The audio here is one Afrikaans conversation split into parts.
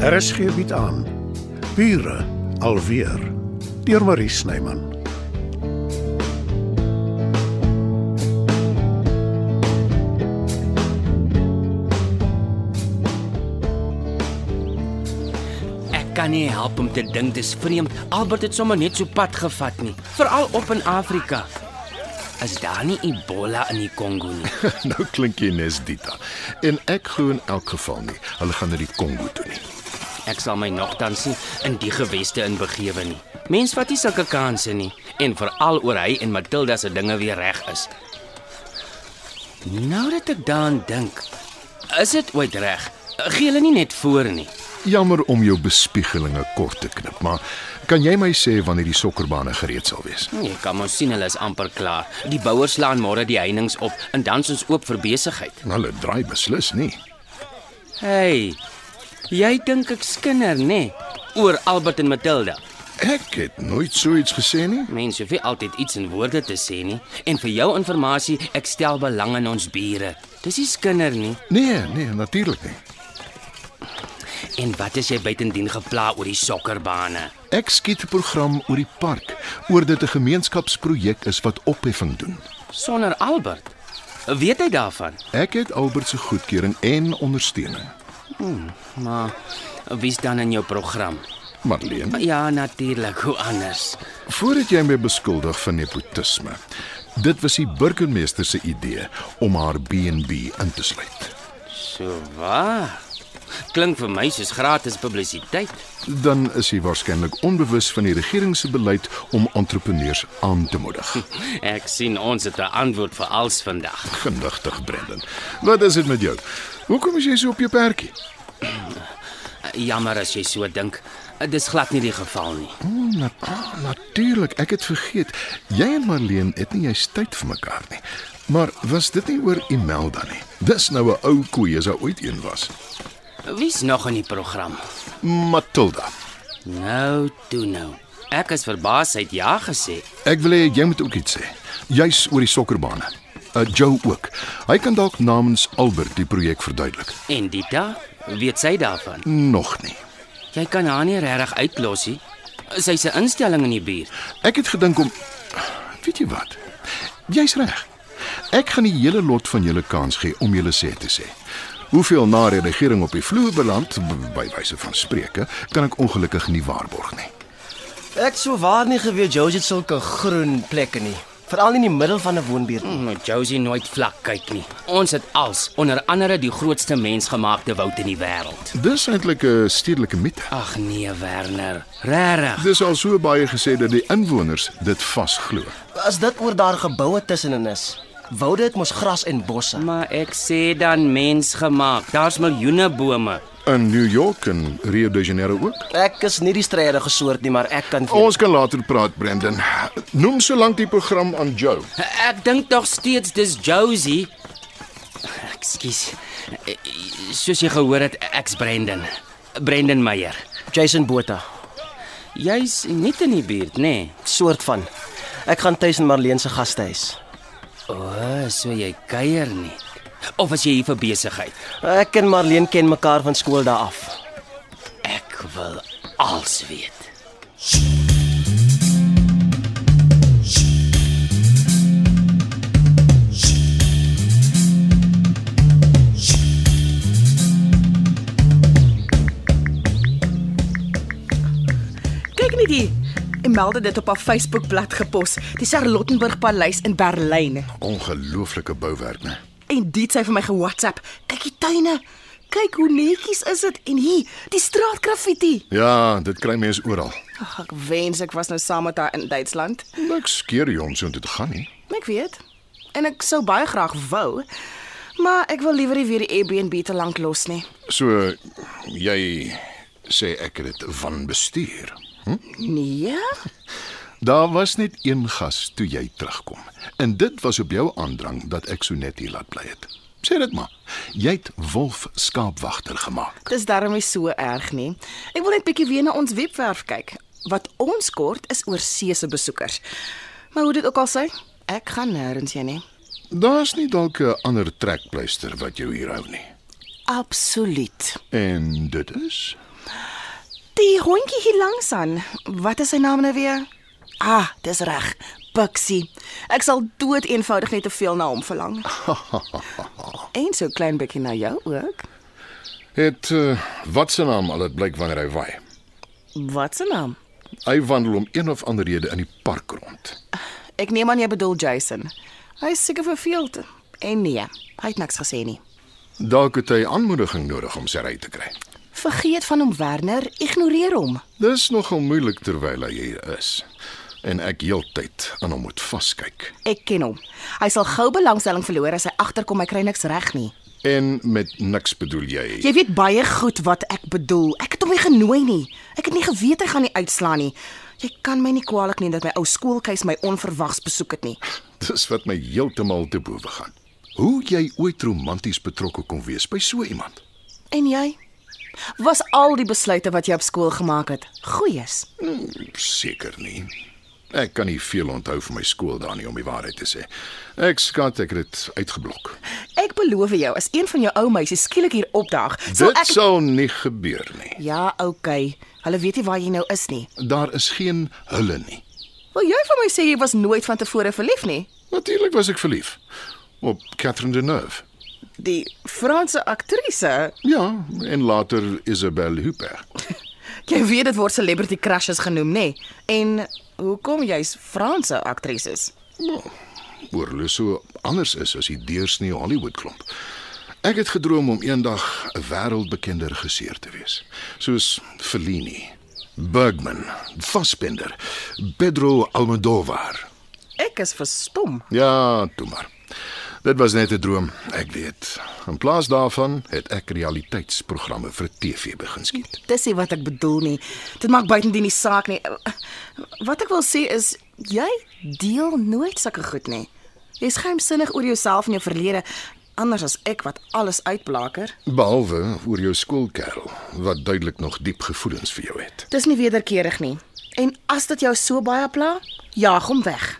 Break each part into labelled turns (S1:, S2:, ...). S1: RSG bied aan. Bure alweer deur Marie Snyman.
S2: Ek kan nie help om te dink dis vreemd. Albert het sommer net so pad gevat nie, veral op in Afrika. Is daar nie Ebola in die Kongo nie?
S3: nou klink jy nes Dita. En ek glo in elk geval nie, hulle gaan na die Kongo toe nie.
S2: Ek sal my nogtans nie in die geweste inbegewe nie. Mens vat nie sulke kansse nie en veral oor hy en Matilda se dinge weer reg is. Nou dat ek daaraan dink, is dit ooit reg? Gee hulle nie net voor nie.
S3: Jammer om jou bespiegelinge kort te knip, maar kan jy my sê wanneer die sokkerbane gereed sal wees?
S2: Jy kan mos sien hulle is amper klaar. Die bouers slaan môre die heininge op en dan is ons oop vir besigheid.
S3: Hulle draai beslis nie.
S2: Hey. Jy dink ek skinder, nê? Oor Albert en Matilda.
S3: Ek het nooit so iets gesê nie.
S2: Mense hoef nie altyd iets in woorde te sê nie. En vir jou inligting, ek stel belang in ons bure. Dis nie skinder nie.
S3: Nee, nee, natuurlik nie.
S2: En wat as jy buitendien gepla oor die sokkerbane?
S3: Ek skiet 'n program oor die park, oor dit 'n gemeenskapsprojek is wat opheffing doen.
S2: Sonder Albert. Weet hy daarvan?
S3: Ek het Albert se goedkeuring en ondersteuning.
S2: Maar wie's dan in jou program?
S3: Marlene,
S2: Ja, natuurlik, hoe anders?
S3: voordat jy my beskuldig van nepotisme. Dit was die burgemeester se idee om haar B&B in te sluit.
S2: So waar. Klink vir my soos gratis publisiteit.
S3: Dan is hy waarskynlik onbewus van die regering se beleid om entrepreneurs aan te moedig.
S2: Ek sien ons het 'n antwoord vir alles vandag.
S3: Genigtig, Brendan. Wat is dit met jou? Hoekom is jy so op jou perdjie?
S2: Jammer as jy so dink. Eh, Dis glad nie die geval nie.
S3: Oh, nat oh, natuurlik, ek het vergeet. Jy en Marleen het nie eens tyd vir mekaar nie. Maar was dit nie oor Imelda nie? Dis nou 'n ou koei as hy ooit een was.
S2: Wie's nog in die program?
S3: Matilda.
S2: Nou, toe nou. Ek is verbaas hy het ja gesê.
S3: Ek wil hê jy moet ook iets sê. Juis oor die sokkerbane. Uh, Joe ook. Hy kan dalk namens Albert die projek verduidelik.
S2: En Dita, weet sy daarvan?
S3: Nog nie.
S2: Jy kan haar nie regtig uitlos nie. Sy's 'n instelling in die buurt.
S3: Ek het gedink om weet jy wat? Jy's reg. Ek gaan die hele lot van julle kans gee om julle sê te sê. Hoeveel na die regering op die vloer beland b- by wyse van spreuke, kan ek ongelukkig nie waarborg nie.
S4: Ek sou waar nie geweet Josie het sulke groen plekke nie, veral in die middel van 'n woonbuurt. nie.
S2: Maar Nou, Josie nooit vlak kyk nie. Ons het als, onder andere die grootste mensgemaakte woud in die wêreld.
S3: Dis eintlik 'n stedelike mite.
S2: Ag nee, Werner. Regtig.
S3: Dis al so baie gesê dat die inwoners dit vasglo.
S4: As dit oor daar geboue tussenin is, woude het mos gras en bosse.
S2: Maar ek sê dan mensgemaak. Daar's miljoene bome.
S3: In New York en Rio de Janeiro ook.
S4: Ek is nie die strydige soort nie, maar ek kan weet.
S3: Ons kan later praat, Brendan. Noem solank die program aan Joe.
S2: Ek dink tog steeds dis Josie. Ekskuus. E, Soos jy gehoor het, ek's Brendan. Brendan Meyer.
S4: Jason Botha,
S2: Jy's net in die buurt, nê? Nee?
S4: soort van. Ek gaan tuis in Marleen se gastehuis.
S2: O, oh, so jy kuier nie. Of as jy hier vir besigheid.
S4: Ek en Marleen ken mekaar van skool daar af.
S2: Ek wil alles weet.
S5: Kyk net hier. Imelda het dit op haar Facebookblad gepos. Die Charlottenburg Paleis in Berlyn.
S3: Ongelooflike bouwerk, né?
S5: En dit sê vir my ge-WhatsApp. Kyk die tuine. Kyk hoe netjies is dit en hier, die straatgraffiti.
S3: Ja, dit kry mense oral.
S5: Ag, ek wens ek was nou saam met haar in Duitsland.
S3: Niks skeer jy ons om dit te gaan nie.
S5: Ek weet. En ek sou baie graag wou, maar ek wil liewer nie weer die Airbnb te lank los nie.
S3: So jy sê ek het dit van bestuur.
S5: Nee.
S3: Daar was net een gas toe jy terugkom. En dit was op jou aandrang dat ek so net hier laat bly het. Sê dit maar. Jy het wolf skaapwagter gemaak.
S5: Dis darem nie so erg nie. Ek wil net bietjie weer na ons webwerf kyk. Wat ons kort is oor see se besoekers. Maar hoe dit ook al sê, ek gaan nêrens heen nie.
S3: Daar's nie dalk 'n ander trekpleister wat jou hier hou nie.
S5: Absoluut.
S3: En dit is
S5: Die hondjie hier langs aan. Wat is sy naam nou weer? Ah, dis reg. Buxie. Ek sal dood eenvoudig net te veel na hom verlang. en so klein bietjie na jou ook.
S3: Het uh, wat se naam al dit blyk wanneer hy waai.
S5: Wat se naam?
S3: Hy wandel om een of ander rede in die park rond.
S5: Ek neem aan jy bedoel Jason. Hy is seker verveeld. En nee, hy het niks gesê nie.
S3: Dalk het hy aanmoediging nodig om sy ry te kry.
S5: Vergeet van hom Werner, ignoreer hom.
S3: Dis nogal moeilik terwyl hy hier is en ek heeltyd aan hom moet vaskyk.
S5: Ek ken hom. Hy sal gou belangstelling verloor as hy agterkom hy kry niks reg nie.
S3: En met niks bedoel jy?
S5: Jy weet baie goed wat ek bedoel. Ek het hom nie genooi nie. Ek het nie geweet hy gaan nie uitslaan nie. Jy kan my nie kwaadlik neem dat my ou skoolkeus my onverwags besoek het nie.
S3: Dis wat my heeltemal te bowe gaan. Hoe jy ooit romanties betrokke kon wees by so iemand?
S5: En jy? Was al die besluite wat jy op skool gemaak het goeies?
S3: Seker nie. Ek kan nie veel onthou van my skool daar nie om die waarheid te sê. Ek skat ek het dit uitgeblok.
S5: Ek beloof jou, as een van jou ou meisies skielik hier opdaag, sal
S3: Dit
S5: ek
S3: sal nie gebeur nie.
S5: Ja, okay. Hulle weet nie waar jy nou is nie.
S3: Daar is geen hulle nie.
S5: Wil jy vir my sê jy was nooit van tevore verlief nie?
S3: Natuurlik was ek verlief op Catherine Deneuve.
S5: Die Franse aktrise.
S3: Ja, en later Isabelle Huppert.
S5: Jy weet dit word celebrity crushes genoem, nê? En hoekom jy's Franse aktrises?
S3: Oorlus so anders is as die deursnee Hollywood klomp. Ek het gedroom om eendag 'n wêreldbekende regisseur te wees, soos Fellini, Bergman, Fassbender, Pedro Almodovar.
S5: Ek is verstom.
S3: Ja, toe maar. Dit was net 'n droom, ek weet. In plaas daarvan het ek realiteitsprogramme vir TV begin skiet.
S5: Dis nie wat ek bedoel nie. Dit maak buitendien nie saak nie. Wat ek wil sê is jy deel nooit sulke goed nie. Jy's geheimsinnig oor jouself en jou verlede, anders as ek wat alles uitblaker.
S3: Behalwe oor jou skoolkerel wat duidelik nog diep gevoelens vir jou het.
S5: Dis nie wederkerig nie. En as dit jou so baie pla, jaag hom weg.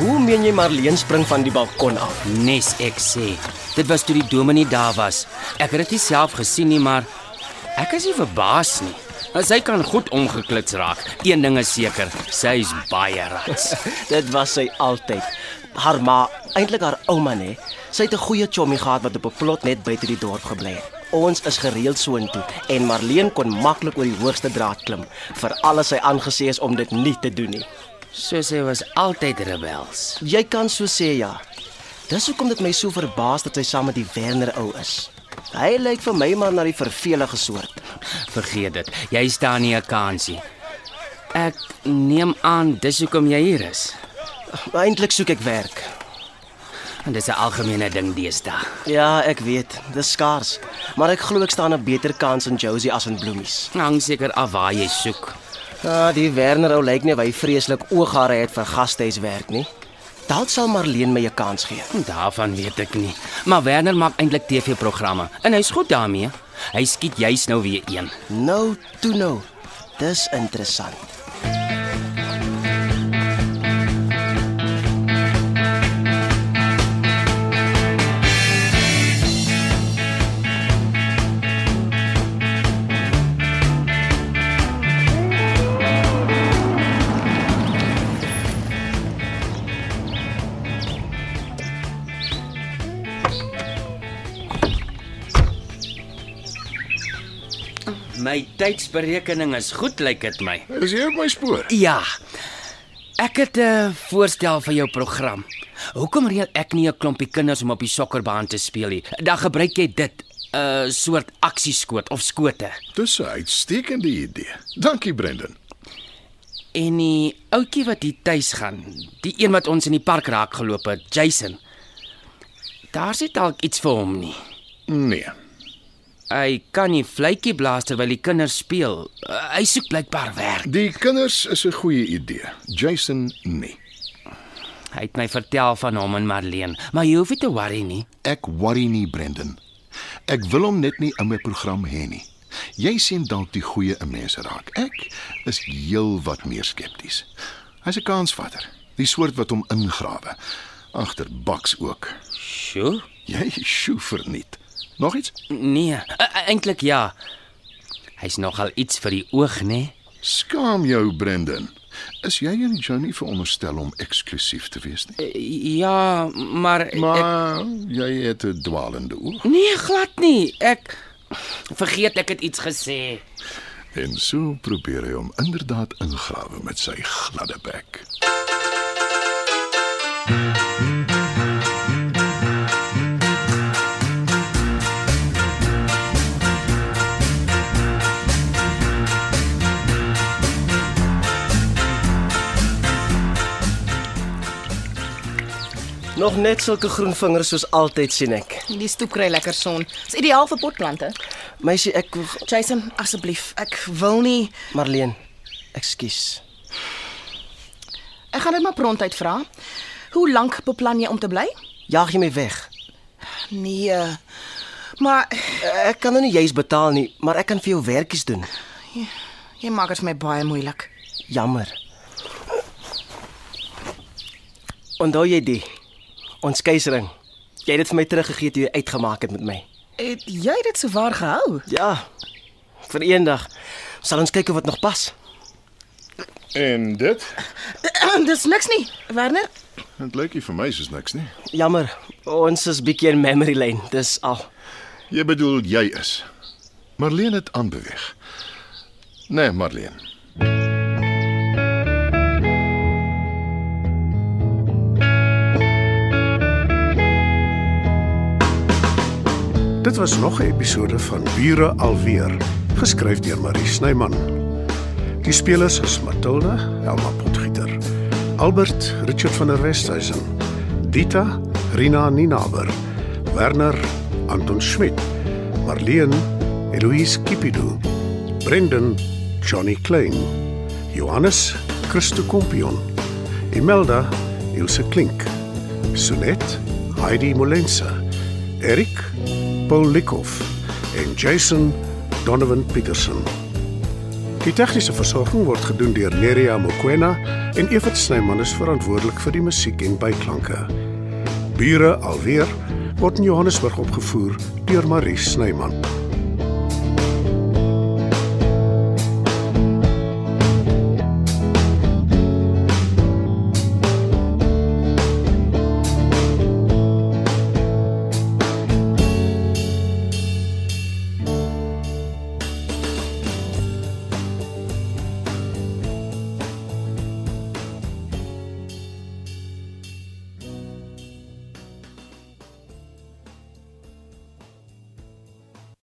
S4: Hoe meen jy Marleen spring van die balkon af?
S2: Nes ek sê, dit was toe die dominee daar was. Ek het dit nie self gesien nie, maar ek is nie verbaas nie. Sy kan goed omgeklits raak. Een ding is seker, sy's baie rats.
S4: Dit was sy altyd. Haar ma, eintlik haar ouma nê. Sy het 'n goeie chommy gehad wat op 'n plot net buite die dorp gebly het. Ons is gereeld soontoe en Marleen kon maklik oor die hoogste draad klim, veral as sy aangesê is om dit nie te doen nie.
S2: So sy was altyd rebels.
S4: Jy kan so sê ja. Dis hoekom dit my so verbaas dat sy saam met die Werner ou is. Hy lyk vir my maar na die vervelige soort.
S2: Vergeet dit. Jy staan nie 'n kansie. Ek neem aan dis hoekom jy hier is.
S4: Maar eintlik soek ek werk.
S2: En dis 'n algemene ding deesdae.
S4: Ja, ek weet, dis skaars, maar ek glo ek staan 'n beter kans in Josie as in Bloemies.
S2: Hang seker af waar jy soek.
S4: Ah, die Werner ou lyk nie of hy vreeslik oogare het vir gastehuiswerk nie. Dalk sal Marleen my 'n kans gee.
S2: Daarvan weet ek nie. Maar Werner maak eintlik TV-programme en hy's goed daarmee. Hy skiet juis nou weer een.
S4: Nou toe nou. Dis interessant.
S2: My tydsberekening is goed, lyk dit my.
S3: Is jy op my spoor?
S2: Ja. Ek het 'n voorstel vir jou program. Hoekom reël ek nie 'n klompie kinders om op die sokkerbaan te speel nie? Dan gebruik jy dit 'n soort aksieskoot of skote.
S3: Dis 'n uitstekende idee. Dankie Brendan.
S2: En die ouetjie wat hier tuis gaan, die een wat ons in die park raak geloop het, Jason. Daar sit dalk iets vir hom nie.
S3: Nee.
S2: Hy kan nie vletjie blaas terwyl die kinders speel. Uh, hy soek blykbaar werk.
S3: Die kinders is 'n goeie idee. Jason nee.
S2: Hy het my vertel van hom en Marlene, maar jy hoef nie te worry nie.
S3: Ek worry nie Brendan. Ek wil hom net nie in my program hê nie. Jy sien dalk die goeie in mense raak. Ek is heelwat meer skepties. Hy's 'n kansvatter, die soort wat hom ingrawe. Agter baks ook.
S2: Sjoe.
S3: Jy sjoe verniet. Nog iets?
S2: Nee, e- eintlik ja. Hy's nogal iets vir die oog, nee? né?
S3: Skaam jou, Brendan. Is jy en Johnny veronderstel om eksklusief te wees nie?
S2: Nee? Ja, maar ek-
S3: Maar jy het 'n dwalende oog.
S2: nee, glad nie. Ek vergeet ek het iets gesê.
S3: En so probeer hy hom inderdaad ingrawe met sy gladde bek.
S4: Nog net sulke groen vingers soos altyd sien ek.
S5: Die stoep kry lekker son. Dis ideaal vir potplante.
S4: Meisie, ek
S5: Jason, asseblief, ek wil nie.
S4: Marleen, ekskuus.
S5: Ek gaan dit maar prontuit vra. Hoe lank beplan jy om te bly?
S4: Jaag jy my weg?
S5: Nee. Maar
S4: Ek kan nou nie juis betaal nie, maar ek kan vir jou werkies doen.
S5: jy maak dit vir my baie moeilik.
S4: Jammer. Onthou jy die? Ons keisering. Jy het dit vir my teruggegee toe jy uitgemaak het met my.
S5: Het jy dit so waar gehou?
S4: Ja. Vir eendag sal ons kyk of dit nog pas.
S3: En dit?
S5: Dis niks nie, Werner.
S3: Dit lyk nie vir my soos niks nie.
S4: Jammer, ons is bietjie in memory lane, dis al.
S3: Jy bedoel jy is. Marlene het aanbeweeg. Nee, Marlene.
S1: Dit was nog 'n episode van Bure alweer, geskryf deur Marie Snyman. Die spelers is Matilda, Elma Potgieter, Albert, Richard van der Westhuizen, Dita, Rina Ninaber, Werner, Anton Schmidt, Marleen, Eloise Kipido, Brendan, Johnny Klein, Johannes, Christo Kompion, Imelda, Ilse Klink. Sunet, Heidi Molensa, Erik, Paul Likhoff en Jason Donovan Peterson. Die tegniese versorging word gedoen deur Neriya Mkwena en Evert Snyman is verantwoordelik vir die musiek en byklanke. Bure alweer word in Johannesburg opgevoer deur Marie Snyman.